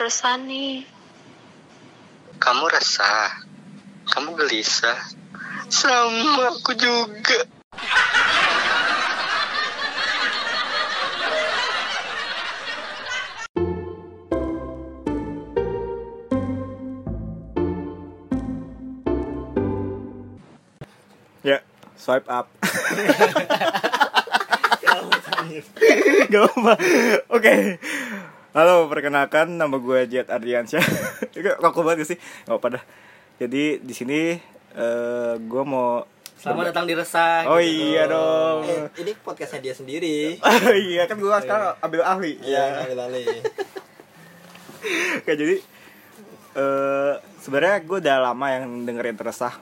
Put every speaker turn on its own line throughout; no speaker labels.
resah nih.
Kamu resah. Kamu gelisah. Sama aku juga.
Ya, swipe up. Gak apa. Oke. Halo, perkenalkan nama gue Jet Ardiansyah. Kaku banget gak sih? Gak apa dah. Jadi di sini eh gue mau
Selamat datang di Resah. gitu.
Oh iya dong.
Eh, ini podcastnya dia sendiri.
Oh iya kan gue sekarang ambil ahli.
Iya, kali lali.
Oke, jadi eh sebenarnya gue udah lama yang dengerin teresah.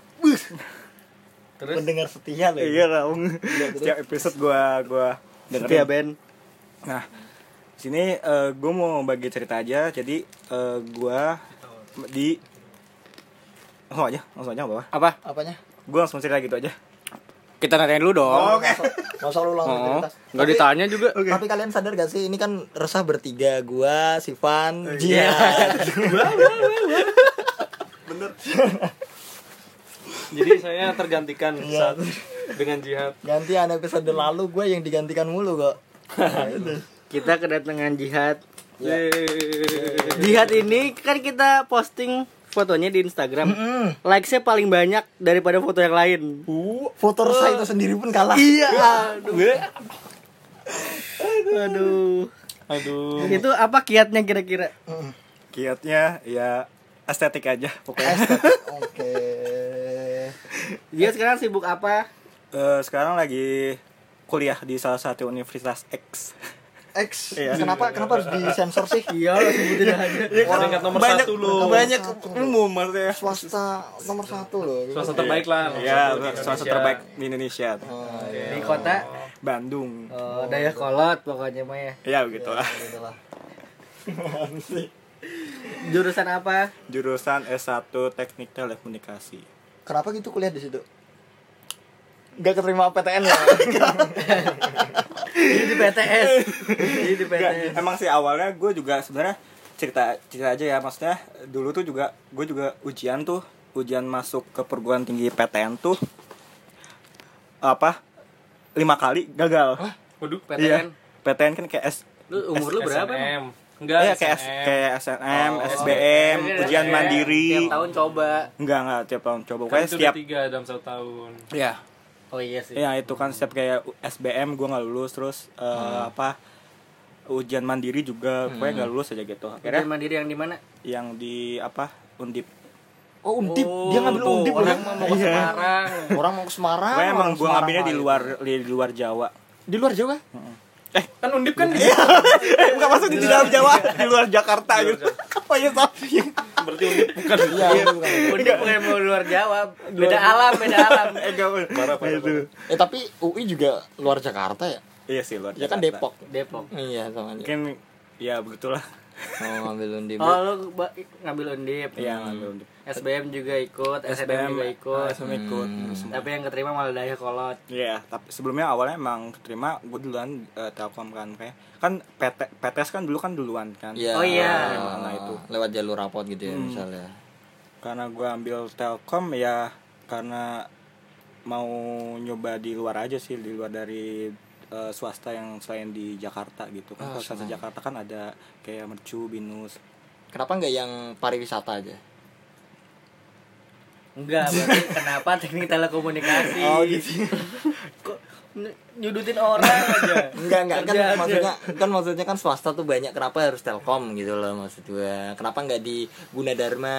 Terus
Pendengar setia loh.
Iya dong. Setiap episode gue gua dengerin.
Setia Ben.
Nah, sini gue mau bagi cerita aja. Jadi eh, gua gue di langsung aja, langsung aja apa?
Apa?
Apanya?
Gue langsung cerita gitu aja.
Kita nanyain dulu
Iya,
Oh,
dong.
Oke. Gak usah lu ulang
Oh,
cerita.
nggak
Tapi-
ditanya juga.
Tapi kalian sadar gak sih ini kan resah bertiga gua, Sivan,
iya.
Jia.
jadi saya tergantikan
Iya.
saat dengan jihad.
Gantian episode lalu gue yang digantikan mulu kok.
Kita kedatangan jihad.
Ya.
Jihad ini kan kita posting fotonya di Instagram. Likes-nya paling banyak daripada foto yang lain.
Uh,
Foto resah itu sendiri pun kalah. Iya.
Aduh.
Aduh.
Itu apa kiatnya kira-kira?
Kiatnya ya estetik aja pokoknya.
Oke.
Dia sekarang sibuk apa?
Eh, sekarang lagi kuliah di salah satu universitas X.
X,
Iya.
kenapa kenapa harus disensor sih?
Iya, lo sebutin aja. kan
Peringkat nomor
banyak
satu lu.
banyak umum maksudnya.
Swasta nomor satu loh.
Swasta terbaik lah. nomor
Ya,
Iya.
satu di
salah satu
Indonesia.
terbaik di Indonesia.
Oh, iya.
Di kota
Bandung.
eh,
Oh.
Daya kolot pokoknya mah ya.
Ya begitu lah.
Gitu lah.
Jurusan apa?
Jurusan S1 Teknik Telekomunikasi.
Kenapa gitu kuliah di situ? Gak keterima PTN ya?
Ini di PTS. Ini di
Enggak,
PTS.
emang sih awalnya gue juga sebenarnya cerita cerita aja ya maksudnya dulu tuh juga gue juga ujian tuh ujian masuk ke perguruan tinggi PTN tuh apa lima kali gagal
Waduh.
Iya. PTN kan kayak S
Lu umur lu berapa? emang?
SNM. Enggak,
ya kayak S,
SNM.
kayak SNM, SBM,
Iya, iya,
ujian
iya.
mandiri.
Tiap tahun coba.
Enggak enggak tiap tahun coba
Eh,
Kan
pokoknya
itu
setiap
udah tiga dalam satu tahun.
ya
Oh iya sih.
Iya itu kan setiap kayak U- SBM gue nggak lulus terus eh, apa ujian mandiri juga gue nggak lulus aja gitu
Ujian
akhirnya
mandiri yang di mana?
yang di apa undip
Oh undip, dia ngambil
tuh,
undip
orang
loh.
mah mau ke Semarang.
Orang mau ke Semarang.
gue
orang
emang
ke
gue
Semarang
ngambilnya di
lain.
luar di luar Jawa
Di luar Jawa?
Kan undip kan
Iya.
eh bukan maksudnya di dalam Jawa di luar Jakarta gitu oh iya sorry
berarti undip bukan
ya, Iya, itu bukan.
Udah bukan mau luar Jawa. Beda alam, beda alam.
eh gak boleh. Itu.
Eh tapi UI juga luar Jakarta ya?
iya sih luar
Ya kan
Jakarta.
Depok.
Depok.
Iya sama aja.
mungkin ya begitulah
Mau ngambil undip.
Oh lu ba- ngambil undip.
Iya, ngambil undip.
SBM juga ikut, SNM
ya.
juga ikut.
SM ikut
Hmm.
semua.
Tapi yang keterima malah daya kolot.
Iya, tapi sebelumnya awalnya emang terima gue duluan eh, Telkom kan kayak kan PT, PTS kan dulu kan duluan kan.
Iya.
Oh, iya. Hmm.
Nah, itu.
Lewat jalur rapot gitu ya misalnya.
Karena gue ambil Telkom ya karena mau nyoba di luar aja sih, di luar dari eh, swasta yang selain di Jakarta gitu
Ah,
kan. Kalau swasta Jakarta kan ada kayak Mercu, Binus.
Kenapa nggak yang pariwisata aja?
Enggak, berarti kenapa teknik telekomunikasi? Kok ny- nyudutin orang aja?
Enggak, enggak kan
Kerja aja.
maksudnya kan maksudnya kan swasta tuh banyak kenapa harus Telkom gitu loh maksud gua. Kenapa nggak di Gunadarma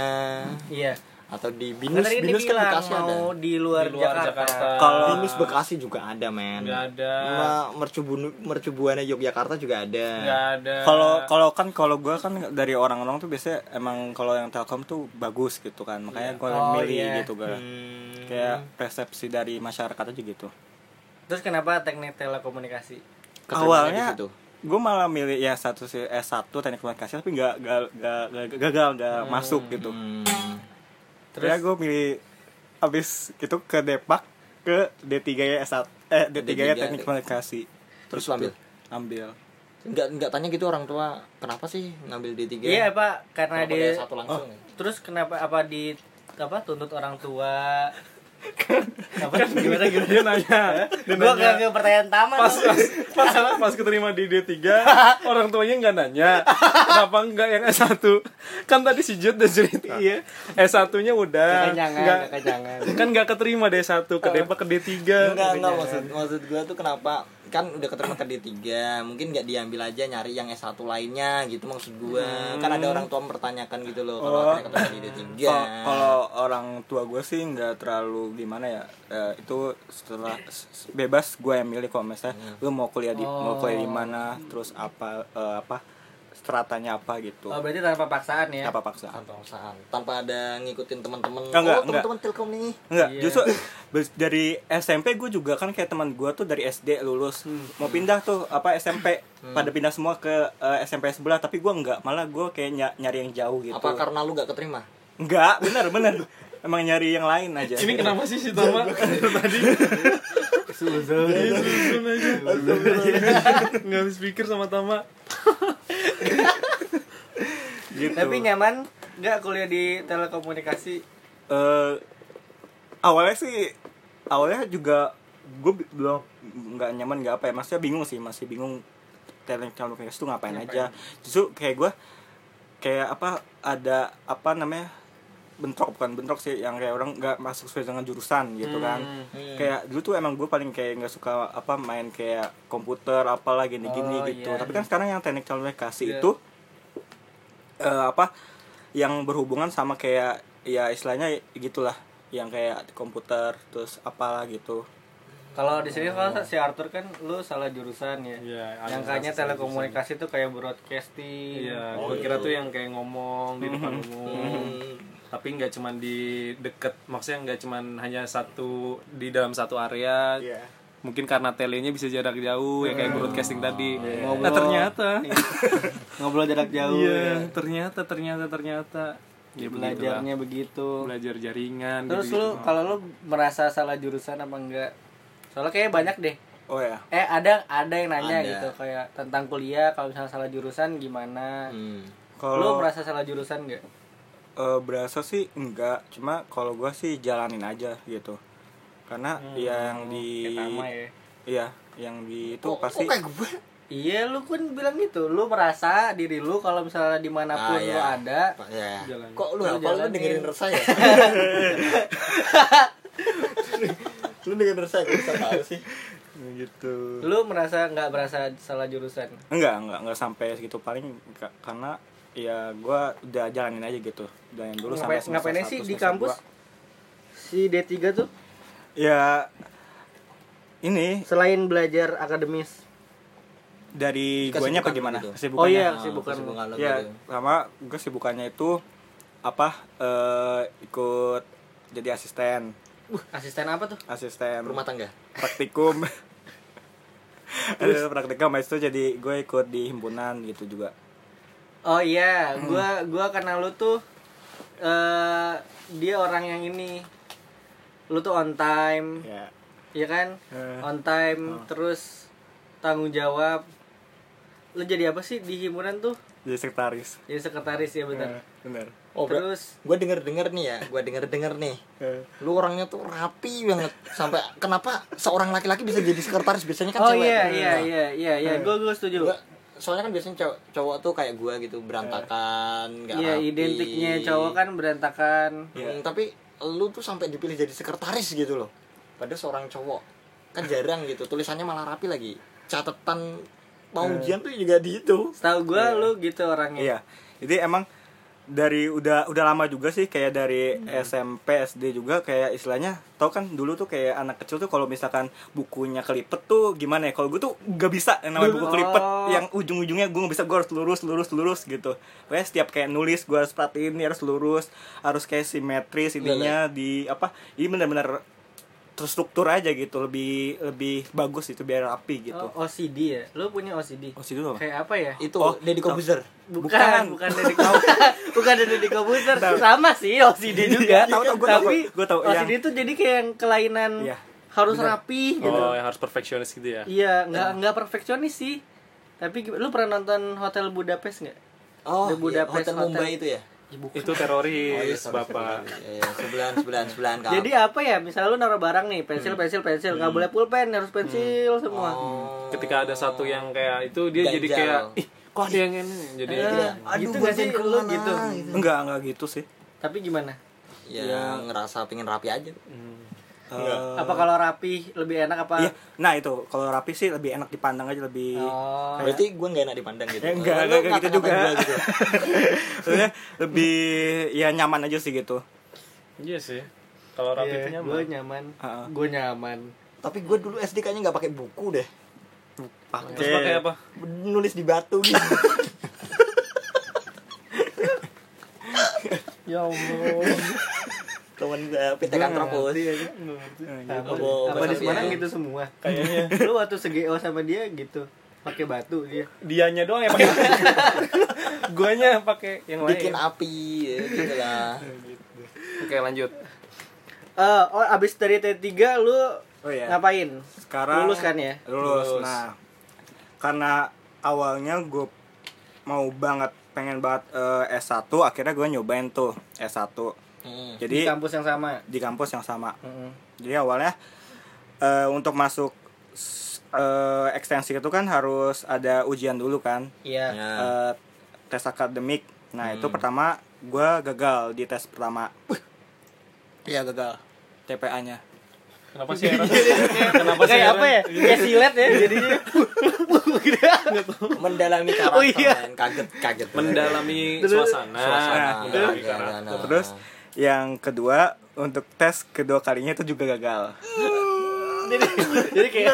Iya.
atau di
Kan
Binus?
tadi dia
Binus kan
bilang
Bekasi ada.
mau di luar,
di luar Jakarta.
Jakarta.
Kalau-
Binus Bekasi juga ada, men.
Nggak ada.
Cuma mercubunu mercubuana Yogyakarta juga ada.
enggak
Ya.
ada.
Kalau kalau kan kalau gue kan dari orang-orang tuh biasanya emang kalau yang Telkom tuh bagus gitu kan. Makanya gue
Oh,
milih
iya. Hmm.
gitu gue. Kayak persepsi dari masyarakat aja gitu.
Terus kenapa teknik telekomunikasi?
Keterimanya
awalnya
di
gitu.
situ.
gue malah milih ya satu sih S1 teknik komunikasi tapi nggak nggak- nggak- nggak- gagal nggak masuk gitu
Hmm.
terus gue milih abis itu ke Depak ke D3 ya S1 eh D3 ya
D3.
ya,
teknik komunikasi
Terus lu ambil?
ambil
nggak nggak tanya gitu orang tua kenapa sih ngambil D3
Iya pak, karena
kenapa
dia
nggak satu langsung ya?
terus kenapa apa di apa tuntut orang tua apa gimana gimana
dia nanya
Ya.
dia
gua gak
nanya
ke pertanyaan tamat
pas
dong.
pas pas, pas keterima di D3 orang tuanya nggak nanya kenapa nggak yang S1 kan tadi si Jod udah cerita iya S1 nya udah
Kekenyangan,
nggak
kekenyangan.
kan nggak keterima di S1 keterima ke D3
Enggak, enggak maksud maksud gua tuh kenapa kan udah keterima ke D3, mungkin nggak diambil aja nyari yang S1 lainnya gitu maksud gua. Kan ada orang tua mempertanyakan gitu loh kalau akhirnya keterima di D3.
Kalau- Kalau orang tua gue sih nggak terlalu gimana ya. Eh, itu setelah s- s- bebas gue yang milih kalau misalnya lu mau kuliah di mau kuliah di mana, terus apa eh, apa stratanya apa gitu.
oh berarti tanpa paksaan ya
Apa paksaan?
tanpa paksaan, tanpa ada ngikutin teman-teman.
Enggak, enggak,
oh, teman-teman Telkom nih.
Enggak, justru bes- dari SMP gue juga kan kayak teman gue tuh dari SD lulus mau pindah tuh apa SMP pada pindah semua ke eh, SMP sebelah tapi gue enggak malah gue kayak ny- nyari yang jauh gitu.
Apa karena lu gak keterima?
Enggak, bener bener. Emang nyari yang lain aja.
ini kenapa sih si Tama tadi susun aja nggak habis pikir sama Tama
Gitu.
tapi nyaman nggak kuliah di telekomunikasi
eh awalnya sih awalnya juga gue belum nggak nyaman nggak apa ya maksudnya bingung sih masih bingung telekomunikasi itu ngapain, aja justru kayak gue kayak apa ada apa namanya bentrok bukan bentrok sih yang kayak orang nggak masuk sesuai dengan jurusan gitu
Hmm,
kan kayak dulu tuh emang gue paling kayak nggak suka apa main kayak komputer apalah gini-gini
Oh,
gitu
iya.
tapi kan sekarang yang teknik komunikasi
Iya.
itu eh, apa yang berhubungan sama kayak ya istilahnya gitulah yang kayak komputer terus apalah gitu
kalau di sini kalau si Arthur kan lu salah jurusan ya
Iya, ada
yang kayaknya
salah jurusan.
telekomunikasi Oh, gitu. tuh kayak broadcasting
Iya, gua kira tuh yang kayak ngomong di
Hmm.
depan umum. Tapi nggak cuman di deket, maksudnya nggak cuman hanya satu di dalam satu area.
Iya.
Mungkin karena telenya bisa jarak jauh, ya kayak broadcasting tadi.
Hmm.
Nah,
Iya. Ngobrol.
ternyata.
ngobrol jarak jauh
Iya,
ya.
ternyata ternyata ternyata. Ya
belajarnya
belajarnya
begitu
belajar jaringan
Terus
gitu.
lu kalau lu merasa salah jurusan apa enggak? Soalnya kayaknya banyak deh.
oh ya
Eh ada ada yang nanya
Ada.
gitu kayak tentang kuliah kalau misalnya salah jurusan gimana?
Hmm.
Lu
kalau
merasa salah jurusan enggak?
eh, berasa sih enggak cuma kalau gua sih jalanin aja gitu karena yang di
Pertama Hmm, ya.
iya yang di itu
Kok-
pasti
kok kayak gue?
Iya, lu kan bilang gitu. Lu merasa diri lu kalau misalnya
Ah,
dimanapun lu
iya.
ada,
Pak, ya.
Jalan.
Kok lu
Lu
hafal lu
jalanin.
dengerin resah ya? lu dengerin resah gak bisa tahu sih.
gitu
lu merasa nggak merasa salah jurusan.
enggak enggak enggak sampai segitu paling ka- karena ya gua udah jalanin aja gitu dan dulu sampai
Ngapain,
semester
ngapainnya
satu,
sih di
semester
kampus?
dua.
Si D3 tuh
ya ini
selain belajar akademis.
dari guanya apa
Kesibukan
gimana
gitu.
Kesibukannya.
Oh, iya.
Ah,
Kesibukan lu.
kesibukan lu
ya
gitu.
sama gue sibukannya itu apa eh, ikut jadi Uh, asisten
Asisten apa tuh?
asisten
Rumah tangga.
praktikum ada praktikum habis itu jadi gue ikut di himpunan gitu juga
Oh iya,
Hmm.
gua gua kenal lu tuh eh dia orang yang ini. Lu tuh on time,
ya
ya kan?
Eh.
On time terus tanggung jawab. Lu jadi apa sih di himpunan tuh?
jadi sekretaris
Jadi sekretaris ya bener
bener
Oh, bro.
Terus
Gue denger-denger nih ya, gue denger-denger nih.
Eh,
lu orangnya tuh rapi banget sampai kenapa seorang laki-laki bisa jadi sekretaris biasanya kan
Oh
cewek
iya
Nah,
iya iya iya iya, gua gua setuju.
gua- soalnya kan biasanya cowok, cowok tuh kayak gua gitu berantakan nggak
Ya
Iya,
rapi.
identiknya cowok kan berantakan.
Iya.
Hmm, tapi lu tuh sampai dipilih jadi sekretaris gitu loh padahal seorang cowok kan jarang gitu tulisannya malah rapi lagi catatan mau
Eh.
ujian tuh juga di itu
Setahu gua lu gitu orangnya.
iya jadi emang dari udah udah lama juga sih kayak dari
Hmm.
SMP SD juga kayak istilahnya tau kan dulu tuh kayak anak kecil tuh kalau misalkan bukunya kelipet tuh gimana ya kalau gue tuh gak bisa yang namanya buku kelipet
Oh.
yang ujung-ujungnya gue gak bisa gue harus lurus lurus lurus gitu pokoknya setiap kayak nulis gue harus perhatiin ini harus lurus harus kayak simetris ininya di apa ini benar-benar terstruktur aja gitu lebih lebih bagus itu biar rapi gitu
Oh, OCD ya. Lu punya OCD.
oh situ apa
Kayak apa ya?
itu
Oh,
Deddy Corbuzier
Bukan, bukan dari bukan dari di komputer. Sama sih OCD juga.
Iya, tahu, tahu, gua tahu,
Tapi
gua tahu,
OCD itu jadi kayak yang kelainan
Iya,
harus rapi gitu.
Oh, yang harus perfeksionis gitu ya.
Iya, nggak nggak perfeksionis sih. Tapi gi- lu pernah nonton Hotel Budapest nggak?
Oh,
The
iya,
Budapest
hotel
Hotel.
Mumbai itu ya?
Itu teroris,
Oh, sorry,
Bapak.
sorry. Iya, iya, sebelahan, sebelahan, sebelahan. Kak.
Jadi apa ya? Misalnya lu naruh barang nih, pensil, pensil, pensil, nggak boleh pulpen, harus pensil semua.
Oh.
Ketika ada satu yang kayak itu dia jadi
Ganjal.
kayak ih kok ada yang ini jadi
Iya.
Aduh,
gitu nggak sih
bagian
lu
kemana?
gitu?
Enggak, enggak gitu sih.
Tapi gimana?
ya, ngerasa pengen rapi aja.
Eh,
apa kalau rapi lebih enak apa?
Iya, nah itu kalau rapi sih lebih enak dipandang aja lebih.
Oh.
Berarti gue nggak enak dipandang gitu.
Ya, enggak,
Lu
enggak, enggak gitu juga.
ngata-ngatain gua gitu.
Maksudnya lebih ya nyaman aja sih gitu.
Iya sih. Kalau rapi itu
Iya,
nyaman.
gue nyaman.
Heeh.
Gue nyaman.
Tapi gue dulu SD kayaknya nggak pakai buku deh.
Terus pakai apa?
Nulis di batu gitu.
Ya Allah.
Temen gue
Iya.
pitek antropos.
Nah, Apa,
Oh,
apa di
bahasa
Semarang
Arab.
gitu semua? Kayaknya. lu waktu segeo sama dia gitu, pakai batu iya. dia.
Dianya doang ya pakai. Guanya pakai yang lain.
Bikin api ya, gitu lah.
Oke, lanjut.
Eh, oh, abis dari T3 lu
Oh iya.
ngapain?
Sekarang
lulus kan ya?
Lulus.
Lulus.
Nah, karena awalnya gue mau banget pengen banget eh, S1, akhirnya gue nyobain tuh S1.
Hmm.
Jadi
Di kampus yang sama.
di kampus yang sama.
Mm-mm.
Jadi awalnya eh, untuk masuk s- eh, ekstensi itu kan harus ada ujian dulu kan,
Iya.
Ya.
Eh, tes akademik. Nah itu pertama gue gagal di tes pertama. Iya gagal TPA-nya.
Kenapa sih heran? Kenapa sih
Kayak
heran?
apa ya? Kayak silet ya jadinya.
Mendalami karakter.
Oh, iya.
men. Kaget, kaget.
Mendalami Ah,
Terus-
suasana.
Suasana. Nah,
Mendalami
nah,
karakter.
nah, nah.
Terus yang kedua untuk tes kedua kalinya itu juga gagal.
jadi, jadi kayak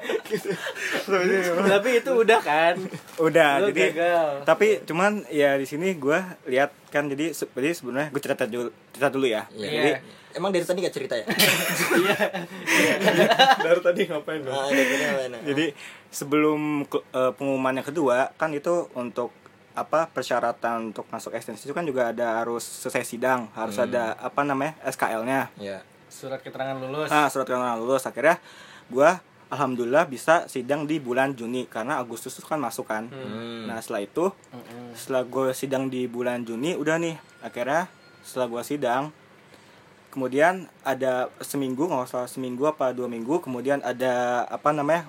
tapi itu udah kan
Udah
Lu
jadi
gagal.
tapi cuman ya di sini gua lihat kan jadi se- jadi sebenarnya gue cerita dulu cerita dulu ya.
Iya.
Jadi
Emang dari tadi gak cerita ya?
Baru tadi ngapain dong?
Ah, dari tadi apa, nah?
jadi sebelum ke- eh, pengumuman yang kedua kan itu untuk apa persyaratan untuk masuk ekstensi itu kan juga ada harus selesai sidang, harus ada apa namanya SKL-nya.
Iya.
surat keterangan lulus
Nah, surat keterangan lulus akhirnya gua alhamdulillah bisa sidang di bulan Juni karena Agustus itu kan masuk kan.
Hmm.
Nah setelah itu setelah gue sidang di bulan Juni udah nih akhirnya setelah gue sidang kemudian ada seminggu nggak salah seminggu apa dua minggu kemudian ada apa namanya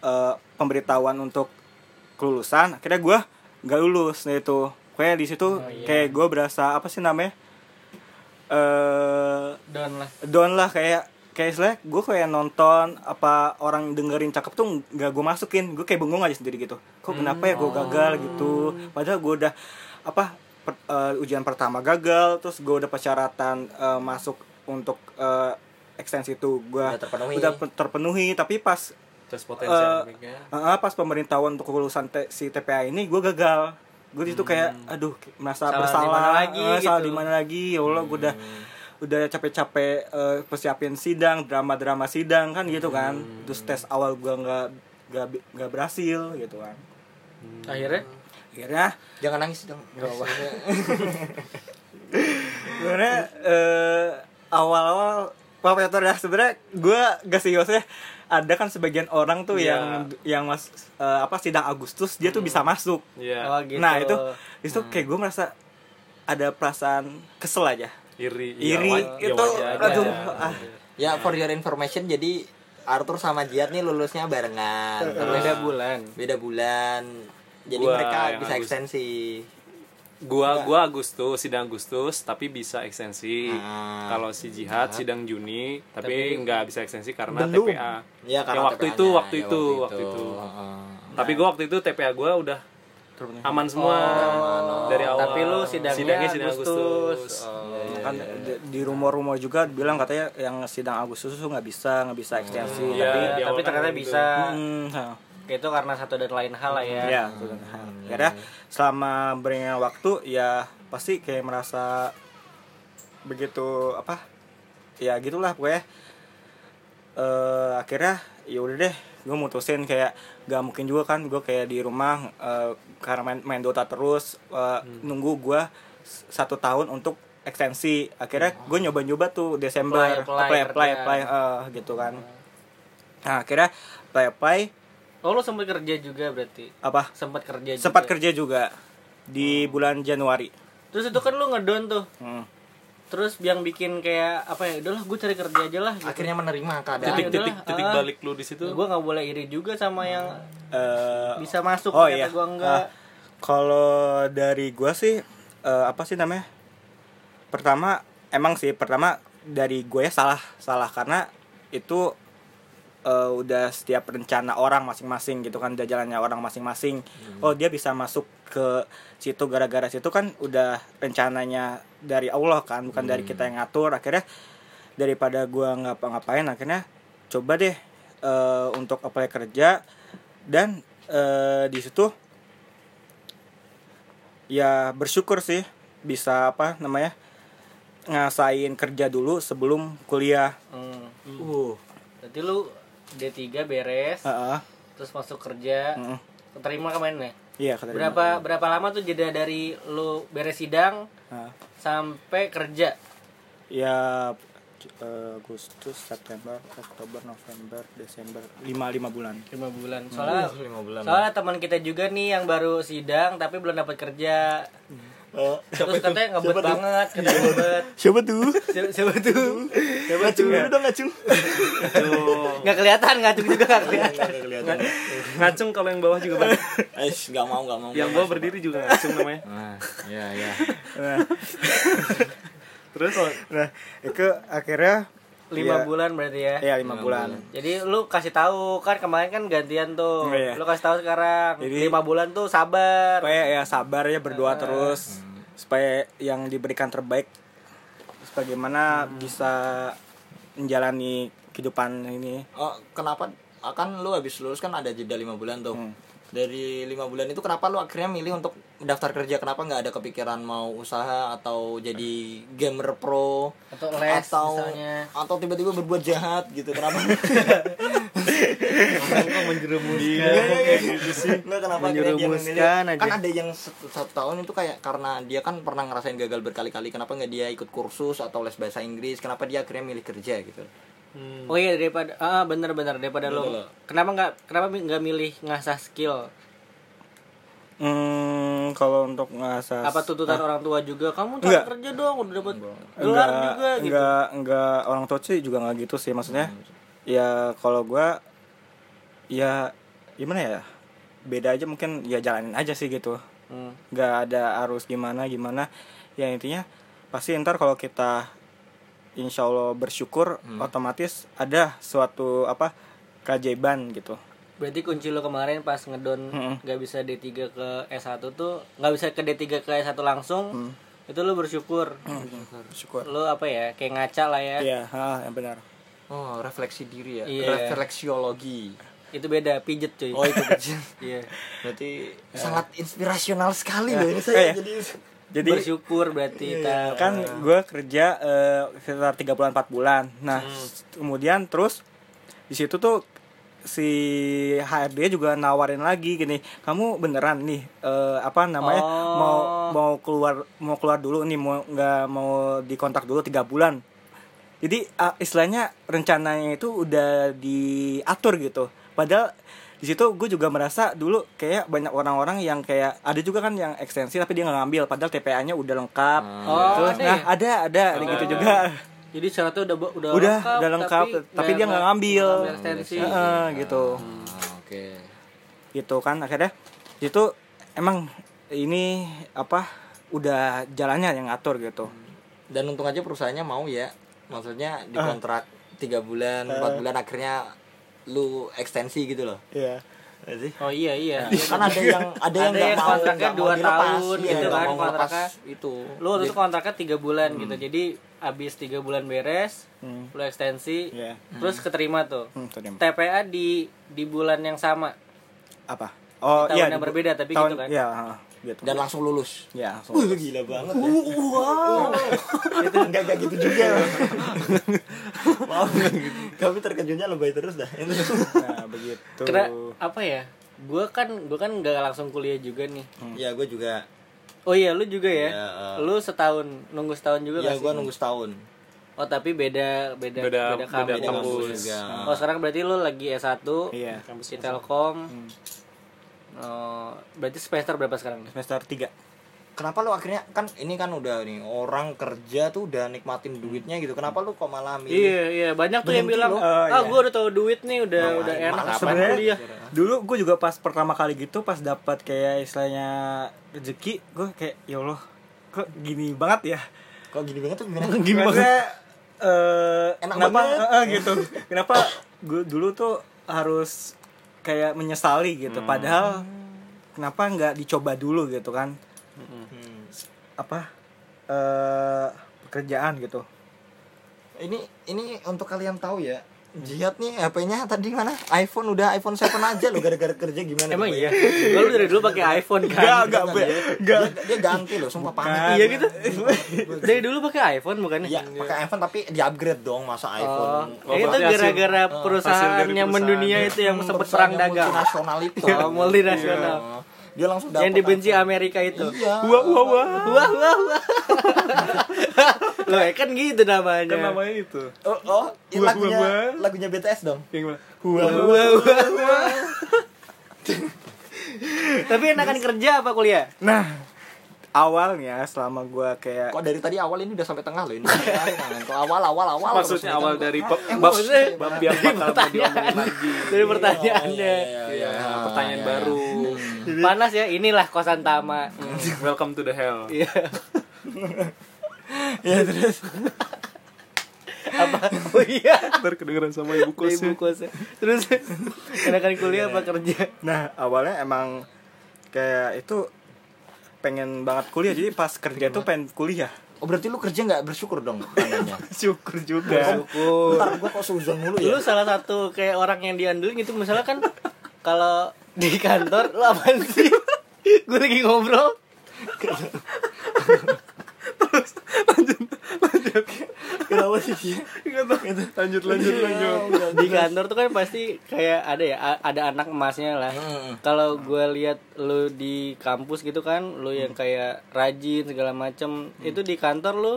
eh, pemberitahuan untuk kelulusan akhirnya gue nggak lulus nah itu kayak di situ kayak gue berasa apa sih namanya eh
down lah
down lah kayak kayak istilah gue kayak nonton apa orang dengerin cakep tuh nggak gue masukin gue kayak bengong aja sendiri gitu kok kenapa ya
Hmm,
gue gagal
oh.
gitu padahal gue udah apa per- eh, ujian pertama gagal terus gue udah persyaratan eh, masuk untuk eh, ekstensi itu gue
Udah terpenuhi.
udah pe- terpenuhi tapi pas
Terus potensi akademiknya.
eh, pas pemberitahuan untuk kelulusan te- si TPA ini gue gagal gue itu kayak aduh merasa
Hmm. Salah di
bersalah
mana lagi
eh, salah
gitu. Hmm.
di mana lagi ya Allah gue udah udah capek-capek eh, persiapin sidang drama-drama sidang kan gitu kan
Hmm.
terus tes awal gue nggak nggak bi- nggak berhasil gitu kan
akhirnya
akhirnya
Jangan nangis dong.
sebenarnya eh, awal-awal Wah, Peter ya sebenarnya gue gak serius ya ada kan sebagian orang tuh
Iya.
yang yang mas eh, apa sidang Agustus dia tuh bisa masuk
Iya. Hmm.
Oh, gitu.
Nah itu itu kayak gue merasa ada perasaan kesel aja.
Iri. iya,
Iri
wa- iya,
itu
wajar.
aduh
Wajar.
ah,
Ya for your information jadi Arthur sama Jiat nih lulusnya barengan. Terus
beda bulan
beda bulan. Jadi
Gua
mereka
yang
bisa
Agus.
ekstensi.
Gua gua Agustus, sidang Agustus tapi bisa ekstensi.
Ah.
Kalau si Jihad sidang Juni tapi nggak bisa ekstensi karena
Belum.
TPA.
Ya karena
Yang waktu
TPA -nya.
itu, waktu
Ya,
itu, waktu itu.
Heeh.
Tapi gua waktu itu TPA gua udah aman semua dari awal.
tapi lu sidangnya
sidang Agustus.
Agustus.
Oh.
kan di- di rumor-rumor juga bilang katanya yang sidang Agustus tuh nggak bisa nggak bisa ekstensi
Iya,
tapi
di awal
tapi
kan
ternyata
gitu.
bisa
hmm, ha,
itu karena satu dan lain hal lah ya
ya itu kan. Ha, akhirnya selama beriringan waktu ya pasti kayak merasa begitu apa ya gitulah pokoknya eh akhirnya ya udah deh gue mutusin kayak gak mungkin juga kan gue kayak di rumah eh, karena main, main Dota terus eh, nunggu gue s- satu tahun untuk ekstensi akhirnya gue nyoba-nyoba tuh Desember
Apply, apply,
apply apply,
kerjaan.
apply, eh, gitu kan nah akhirnya Pepai
Oh lo sempat kerja juga berarti?
apa
Sempat kerja Iya juga. Hmm.
sempat kerja juga di bulan Januari
Terus itu kan lo ngedon tuh.
Hmm.
Terus yang bikin kayak apa ya? Udahlah gue cari kerja aja lah. Gitu.
akhirnya menerima keadaan
Titik-
titik-titik
adalah,
titik
ah.
balik lu di situ
Gue nggak boleh iri juga sama yang
Eh,
bisa masuk
Nah. oh
ternyata
iya
gue enggak.
Ah, kalau dari gua sih eh, apa sih namanya pertama emang sih pertama dari gue ya salah salah karena itu eh, udah setiap rencana orang masing-masing gitu kan udah jalannya orang masing-masing oh dia bisa masuk ke situ gara-gara situ kan udah rencananya dari Allah kan bukan dari kita yang ngatur akhirnya daripada gua ngapa-ngapain akhirnya coba deh eh, untuk apply kerja dan eh, di situ ya bersyukur sih bisa apa namanya ngasain kerja dulu sebelum kuliah
Hmm.
uh
Berarti lu D3 beres,
Heeh.
terus masuk kerja,
Mm.
terima kemarin ya?
iya kata dia.
Berapa berapa lama tuh jeda dari lu beres sidang
Heeh.
sampai kerja?
ya eh, Agustus September Oktober November Desember lima lima bulan
lima bulan.
Hmm,
Soalnya
lima bulan
soalnya teman kita juga nih yang baru sidang tapi belum dapat kerja.
Hmm. Oh,
Terus katanya ngebet banget,
Iya.
katanya ngebet.
siapa tuh
Siapa, siapa tuh? Siapa tuh?
dong ngacung Oh.
Nggak kelihatan, ngacung juga nggak
Iya.
kelihatan.
kelihatan
ngacung kalau yang bawah juga bang
eh nggak mau nggak mau
yang
nggak
bawah
mau.
berdiri juga ngacung namanya
nah ya ya
terus
nah itu akhirnya
Lima
Iya.
bulan berarti ya.
ya lima bulan
Jadi lu kasih tahu kan kemarin kan gantian tuh.
Oh, iya.
Lu kasih tahu sekarang.
Jadi-
lima bulan tuh sabar.
supaya ya sabar ya berdoa
Eh.
terus
Hmm.
supaya yang diberikan terbaik terus bagaimana
Hmm.
bisa menjalani kehidupan ini
oh kenapa akan lu habis lulus kan ada jeda lima bulan tuh dari lima bulan itu kenapa lu akhirnya milih untuk daftar kerja kenapa nggak ada kepikiran mau usaha atau jadi gamer pro
Atau les
atau
misalnya.
atau tiba-tiba berbuat jahat gitu kenapa
Kok menjerumus.
Iya, Nggak, kenapa akhirnya dia
Menjerumuskan
memilih?
aja.
kan ada yang satu, satu tahun itu kayak karena dia kan pernah ngerasain gagal berkali-kali kenapa nggak dia ikut kursus atau les bahasa Inggris kenapa dia akhirnya milih kerja gitu
Hmm.
Oh iya daripada ah bener-bener daripada lu. Kenapa nggak kenapa mi- nggak milih ngasah skill?
hmm, kalau untuk ngasas
Apa tuntutan orang tua juga? Kamu cari
Enggak.
kerja dong, udah dapat gelar
ah. enggak
juga gitu. Hmm.
enggak enggak orang tua sih juga nggak gitu sih maksudnya ya kalau gua ya gimana ya beda aja mungkin ya jalanin aja sih gitu
Hmm.
nggak ada arus gimana gimana ya intinya pasti ntar kalau kita insya Allah bersyukur otomatis ada suatu apa keajaiban gitu
Berarti kunci lo kemarin pas ngedon nggak bisa D3 ke S1 tuh nggak bisa ke D3 ke S1
Mm.
langsung. Itu lo bersyukur.
bersyukur
Lo apa ya? Kayak ngaca lah ya.
Mm. iya ha, yang benar
oh refleksi diri ya
Iya.
refleksiologi
Itu beda pijet cuy.
oh itu kecil
Iya.
berarti eh, sangat inspirasional sekali loh
Eh,
ini saya
ya.
jadi
jadi
bersyukur berarti kita
kan gue kerja eh, sekitar tiga bulan empat bulan nah s- kemudian terus di situ tuh si HRD juga nawarin lagi gini kamu beneran nih eh, apa namanya mau mau keluar mau keluar dulu nih mau nggak mau dikontak dulu tiga bulan jadi ah, istilahnya rencananya itu udah diatur gitu padahal di situ gue juga merasa dulu kayak banyak orang-orang yang kayak ada juga kan yang ekstensi tapi dia nggak ngambil padahal TPA-nya udah lengkap
Oh,
terus
ada
nah
ya?
ada ada gitu juga
Jadi syaratnya udah ba- udah,
Udah, udah lengkap, tapi dia nggak ngambil.
ekstensi.
Heeh, gitu
Hmm, oke
gitu kan akhirnya itu emang ini apa udah jalannya yang ngatur gitu
dan untung aja perusahaannya mau ya maksudnya dikontrak tiga bulan empat bulan akhirnya lu ekstensi gitu loh
Iya
sih
Oh iya iya.
kan ada yang ada yang
Ada
nggak
yang
mau
kontraknya
nggak mau
dua
dilepas,
tahun
iya,
gitu
nggak
kan,
mau ngelepas
kontraknya.
itu
Lu waktu itu kontraknya tiga bulan
Hmm.
gitu. Jadi abis tiga bulan beres, lu ekstensi,
Iya.
terus keterima tuh.
Hmm, tuh dia.
TPA di di bulan yang sama.
apa oh
Tahun
iya
yang berbeda, tapi
tahun,
gitu kan? Uh.
iya, heeh, gitu
dan langsung lulus
ya
Wih, gila banget ya. Itu enggak kayak gitu juga.
Iya.
Wow, kami terkejutnya lebay terus dah.
nah begitu
Kena apa ya? Gue kan gue kan nggak langsung kuliah juga nih.
ya gue juga.
Oh iya, lu juga ya?
Iya,
eh.
Lu setahun Iya, nunggu setahun
Ya
juga
Iya,
nggak sih?
gue nunggu setahun.
Oh tapi beda beda
Beda- beda
Beda kampus
kampus.
juga.
Oh sekarang berarti lu lagi S1
Iya. Hmm.
di Telkom. Oh, berarti semester berapa sekarang? nih?
Semester 3.
Kenapa lu akhirnya kan ini kan udah nih orang kerja tuh udah nikmatin duitnya gitu. Kenapa lu kok malah milih?
Iya iya banyak tuh yang
Berhenti
bilang
loh.
ah
Eh, iya.
gua udah tau duit nih udah
Nah,
udah
emang
enak
kapan
sebenarnya
Sebenarnya dulu gue juga pas pertama kali gitu pas dapat kayak istilahnya rezeki gue kayak ya Allah kok gini banget ya
Kok gini banget tuh gimana?
gini banget eh
Enak
kenapa
banget.
eh, eh, gitu kenapa gue dulu tuh harus kayak menyesali gitu padahal kenapa nggak dicoba dulu gitu kan
Hmm.
apa eh pekerjaan gitu
Ini ini untuk kalian tahu ya. Jihad nih HP-nya tadi mana? iPhone udah iPhone 7 aja lu gara-gara kerja gimana?
Emang
coba
iya.
ya?
Gua lu dari dulu pakai iPhone kan.
Enggak,
Enggak,
Be.
dia-
Enggak.
Dia, dia ganti loh, sumpah panik.
Iya gitu. dari dulu pakai iPhone bukannya?
Iya, pakai iPhone tapi di-upgrade dong masa
Oh,
iPhone.
Oh,
itu
berarti hasil-
gara-gara
hasil dari
perusahaan yang
perusahaan.
mendunia itu yang
Hmm,
sempat
perusahaan
perang
yang
dagang.
multinasional itu.
Oh, multinasional.
Iya. Dia langsung dapet
Yang dibenci
iPhone.
Amerika itu.
Iya.
wah wah wah
Wah wah wah. Loh, ya kan gitu namanya.
kan namanya itu
Oh, oh ini
Wah,
lagunya
wah, wah.
lagunya BTS dong.
yang mana?
Wah,
Wah, wah, wah. Tapi enakan kerja apa kuliah?
nah awalnya selama gue kayak
Kok dari tadi awal ini udah sampai tengah loh ini. Kok awal awal awal.
Maksudnya awal dari bab bab
maksudnya-
bab yang bakal mau diomongin lagi.
Dari
Oh,
pertanyaannya.
Iya, pertanyaan baru.
Panas ya, inilah kosan Tama.
Welcome to the hell.
Iya.
Ya terus.
Apa? Oh iya.
Ntar kedengeran sama
Ibu
ibu kosnya.
kosnya. Terus enakan kuliah apa kerja?
Nah awalnya emang kayak itu pengen banget kuliah jadi pas kerja tuh pengen kuliah
Oh berarti lu kerja nggak bersyukur dong tandanya.
syukur juga
Bentar gua kok seuzon mulu ya.
Lu salah satu kayak orang yang diandelin gitu misalnya kan kalau di kantor lu apaan sih? Gue lagi ngobrol.
Kenapa sih dia?
Lanjut lanjut lanjut.
di kantor tuh kan pasti kayak ada ya a- ada anak emasnya lah
Hmm.
kalau gue lihat lu di kampus gitu kan lu yang kayak rajin segala macem itu di kantor lu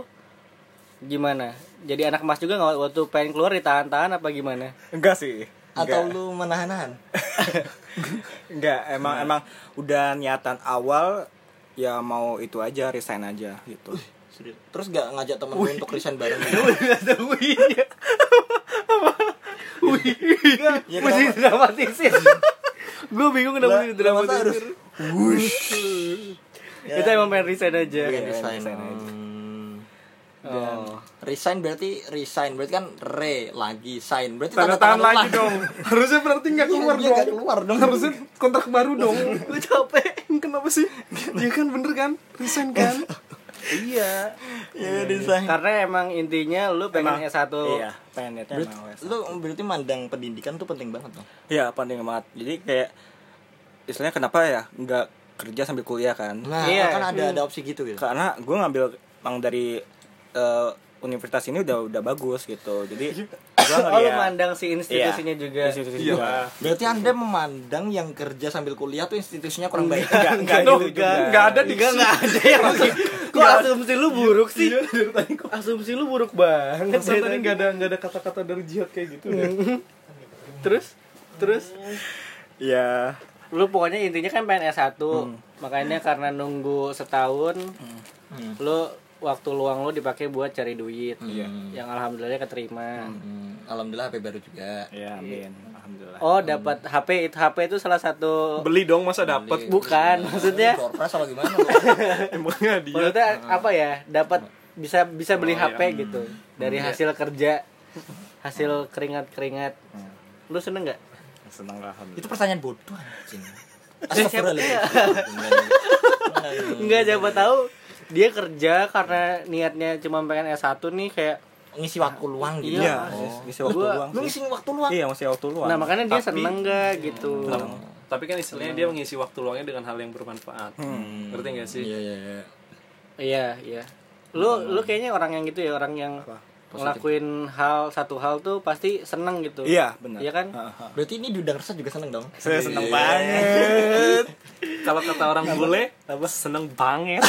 gimana jadi anak emas juga nggak waktu pengen keluar ditahan-tahan apa gimana
enggak sih
Atau
enggak,
lu menahan-nahan?
enggak emang
Nah.
emang udah niatan awal ya mau itu aja resign aja gitu
Terus nggak ngajak temen lu untuk resign bareng?
Iya, mesti dramatisir gue bingung kenapa mesti dramatisir itu emang pengen resign aja
Pengen resign.
oh.
Resign berarti resign berarti kan re lagi sign berarti
Tanda tangan lagi dong. Harusnya berarti nggak keluar
Iya, nggak
dong.
keluar dong.
Harusnya kontrak baru dong. Hmm,
gue capek
Kenapa sih? Ya kan bener kan? Resign kan?
iya
Iya resign.
karena emang intinya lu pengen
Emang,
S1
iya pengen niatnya
Berarti,
emang wes.
lu berarti mandang pendidikan tuh penting banget dong.
iya penting banget jadi kayak istilahnya kenapa ya nggak kerja sambil kuliah kan
Nah,
Iya.
kan ada ada opsi gitu gitu.
karena gue ngambil emang dari eh, universitas ini udah udah bagus gitu jadi gue
Oh, lu mandang si institusinya juga.
institusi
Iya.
juga.
Berarti Anda memandang yang kerja sambil kuliah tuh institusinya kurang baik.
Enggak, enggak
Enggak,
gitu
enggak.
juga.
Nggak ada di
Enggak enggak ada yang Kok asumsi lu buruk sih?
Iya,
Asumsi lu buruk banget.
Masa
dari
tadi
tadi. Hmm.
nggak ada nggak ada kata-kata dari jihad kayak gitu ya?
Terus terus
Iya.
Ya,
lu pokoknya intinya kan pengen S1. Makanya karena nunggu setahun lu waktu luang lu dipakai buat cari duit. Yang alhamdulillah keterima.
Hmm, alhamdulillah HP baru juga.
ya amin, alhamdulillah.
Oh, dapat HP. Itu HP itu salah satu
Oh. Beli dong masa dapat.
bukan maksudnya
Korpres apa gimana?
Iya.
Emangnya dia
maksudnya apa ya dapat bisa bisa beli
Oh,
HP gitu
Hmm.
dari
Iya.
hasil kerja hasil keringat keringat
Hmm.
lu seneng nggak
Senang lah alhamdulillah.
itu pertanyaan bodoh anjing.
nggak siapa tahu dia kerja karena niatnya cuma pengen S1 nih kayak
Ngisi waktu luang gitu.
Iya, ngisi waktu
Gua-
luang.
Lu
sih.
ngisi waktu luang.
Iya, ngisi waktu luang.
nah makanya dia
Tapi-
seneng nggak gitu
Iya.
Tapi kan istilahnya dia mengisi waktu luangnya dengan hal yang bermanfaat. Ngerti nggak sih?
Iya iya iya.
iya iya lu lu kayaknya orang yang gitu ya orang yang ngelakuin hal satu hal tuh pasti seneng gitu
Iya, benar.
iya kan
Berarti ini diundang resep juga seneng dong.
Saya senang
Iya.
banget.
Kalau kata orang bule, seneng banget.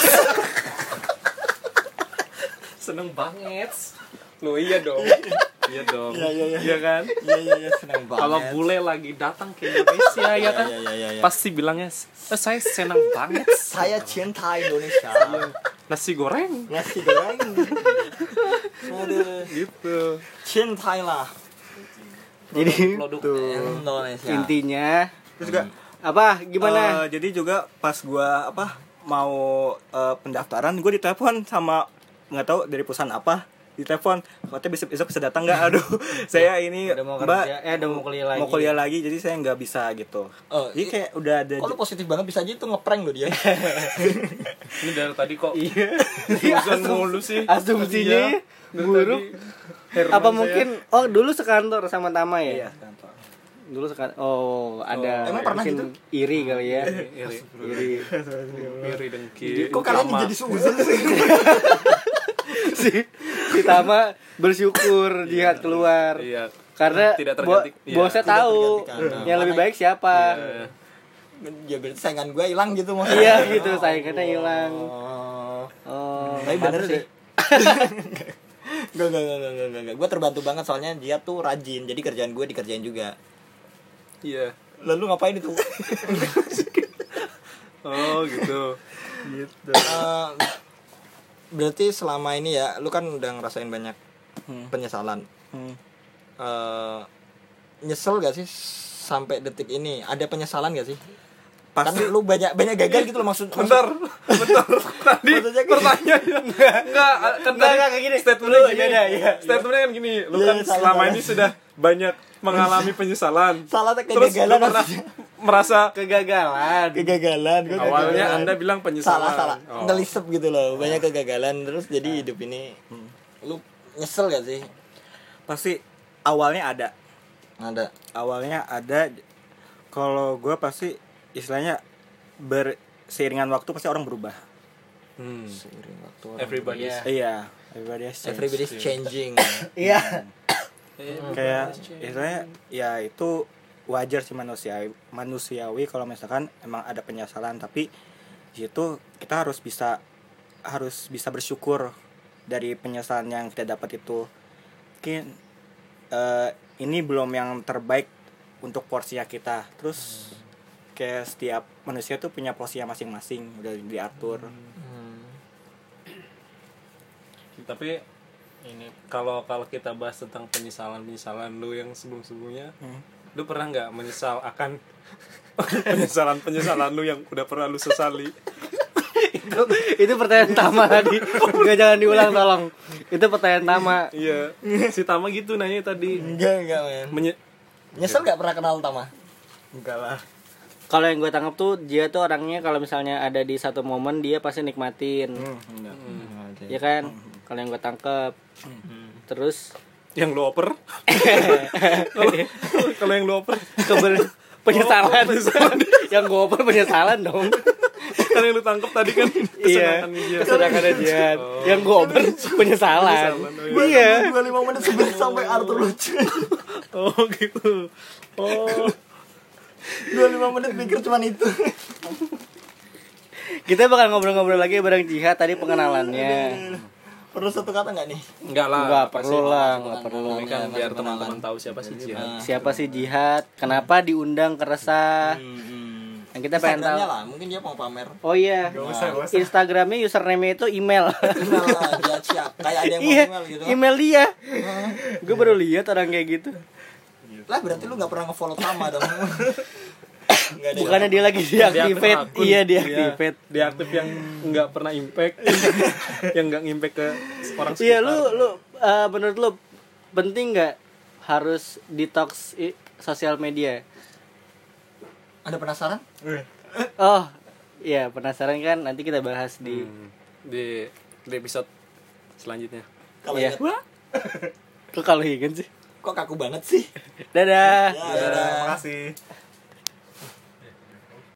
seneng banget. Lo iya dong. iya dong.
Iya, iya, iya.
Iya kan?
Iya iya iya senang banget.
Kalau bule lagi datang ke Indonesia ya kan?
Iya, iya, iya, iya.
Pasti bilangnya, "Eh, saya senang banget.
saya cinta Indonesia.
Nasi goreng
Nasi goreng. Aduh,
gitu.
cintailah
jadi
Indonesia.
intinya
Terus juga
apa gimana
Eh, jadi juga pas gua apa mau eh, pendaftaran gue ditelepon sama nggak tahu dari perusahaan apa ditelepon katanya besok besok bisa datang nggak aduh saya ini
Iya. udah mau
mbak
kerja eh udah mau kuliah lagi
mau kuliah lagi jadi saya nggak bisa gitu
Oh,
jadi
i-
kayak udah ada
Kok lu positif banget bisa aja itu ngeprank lo dia.
Ini dari tadi kok
iya
Susan mulu sih.
asumsinya
Iya. Dari
buruk
tadi heran
apa
saya.
mungkin oh dulu sekantor sama Tama ya
Iya, kantor.
dulu sekantor oh ada
Emang pernah
gitu?
mungkin iri kali ya
iri,
iri
iri dengki.
Iya, Kok kalian
utama.
jadi suzon sih?
si, si Tama bersyukur jihad keluar
Iya.
karena
Tidak
bo-
terganti- iya.
bosnya
Tidak
tahu
tergantikan.
yang lebih baik siapa
Iya.
ya berarti saingan gue hilang gitu maksudnya.
iya gitu saingannya hilang
Oh.
oh
Tapi bener
pantes
sih.
ya.
Gak, gak, gak, gak, gak, Gue terbantu banget soalnya dia tuh rajin Jadi kerjaan gue dikerjain juga
Iya.
Lalu ngapain itu?
Oh, gitu.
Eh, berarti selama ini ya Lu kan udah ngerasain banyak penyesalan
Hmm.
Eh, Nyesel gak sih sampai detik ini? Ada penyesalan gak sih? Kan
pasti
lu banyak banyak gagal gitu loh maksud
Bentar, bentar. Tadi
Maksudnya gini.
pertanyaannya enggak kan
Enggak,
tadi
enggak, kayak gini.
statementnya
Lu
gini.
beda, iya.
Statementnya kan gini, lu
Iya,
kan
iya, salah,
selama
salah.
ini sudah banyak mengalami penyesalan.
Salah tuh
Terus lu
kegagalan
pernah
maksudnya.
merasa
kegagalan
Kegagalan gua
awalnya
kegagalan.
Anda bilang penyesalan.
Iya, salah salah
Oh. Iya.
ngelisep gitu loh banyak kegagalan terus jadi hidup ini lu nyesel gak sih
pasti awalnya ada
ada
awalnya ada kalau gua pasti istilahnya ber seiringan waktu pasti orang berubah
Hmm.
seiring waktu
Everybody
Iya.
iya everybody has changed.
everybody's changing
iya
kayak istilahnya ya itu wajar sih manusia manusiawi kalau misalkan emang ada penyesalan tapi di situ kita harus bisa harus bisa bersyukur dari penyesalan yang kita dapat itu mungkin eh, ini belum yang terbaik untuk porsinya kita terus kayak setiap manusia tuh punya porsinya masing-masing udah diatur
Tapi ini kalau kalau kita bahas tentang penyesalan-penyesalan lu yang sebelum-sebelumnya, lu pernah nggak menyesal akan penyesalan-penyesalan lu yang udah pernah lu sesali?
itu, itu pertanyaan Tama tadi nggak jangan diulang tolong itu pertanyaan Tama
Iya, si Tama gitu nanya tadi.
enggak enggak men
Menye-
nyesel gak pernah kenal Tama
enggak lah
kalau yang gue tangkap tuh dia tuh orangnya kalau misalnya ada di satu momen dia pasti nikmatin
Hmm.
ya kan kalau yang gue tangkep terus
yang lu oper? Kalau- Kalau yang lu oper,
keber penyesalan yang gue oper penyesalan dong
kan yang lu tangkep tadi kan
iya
kesenangan dia. Oh.
kesenangan dia yang gue oper penyesalan
Penyesalan,
iya
dua lima menit sebelum sampai Arthur lucu
Oh gitu. Oh,
dua lima menit mikir cuman itu
kita bakal ngobrol-ngobrol lagi bareng Jihad tadi pengenalannya
perlu satu kata nggak nih
enggak lah.
nggak
apa
perlu
sih.
lah nggak perlu
Ini kan biar teman-teman tahu siapa sih Jihan.
Nah.
Ah.
siapa sih Jihad kenapa diundang ke resah yang kita pengen tahu
Instagramnya lah mungkin dia mau pamer
Oh iya. Instagramnya username itu email.
kenal lah dia siap kayak ada yang mau
iya,
email gitu
email dia. Gue baru lihat orang kayak gitu.
lah berarti lu nggak pernah ngefollow Tama dong Nggak ada
Bukannya dia lagi
Dia
deactivate.
akun.
Iya, deactivate.
Dia aktif yang nggak pernah impact, yang nggak ngimpact ke orang sekitar.
Iya, lu lu eh, menurut lu penting nggak harus detox i- sosial media?
ada penasaran
Oh, iya penasaran kan nanti kita bahas di
Hmm. di di episode selanjutnya.
kalau
Iya.
ingat
Kok kalau ingat sih.
kok kaku banget sih
Dadah.
ya, dadah.
makasih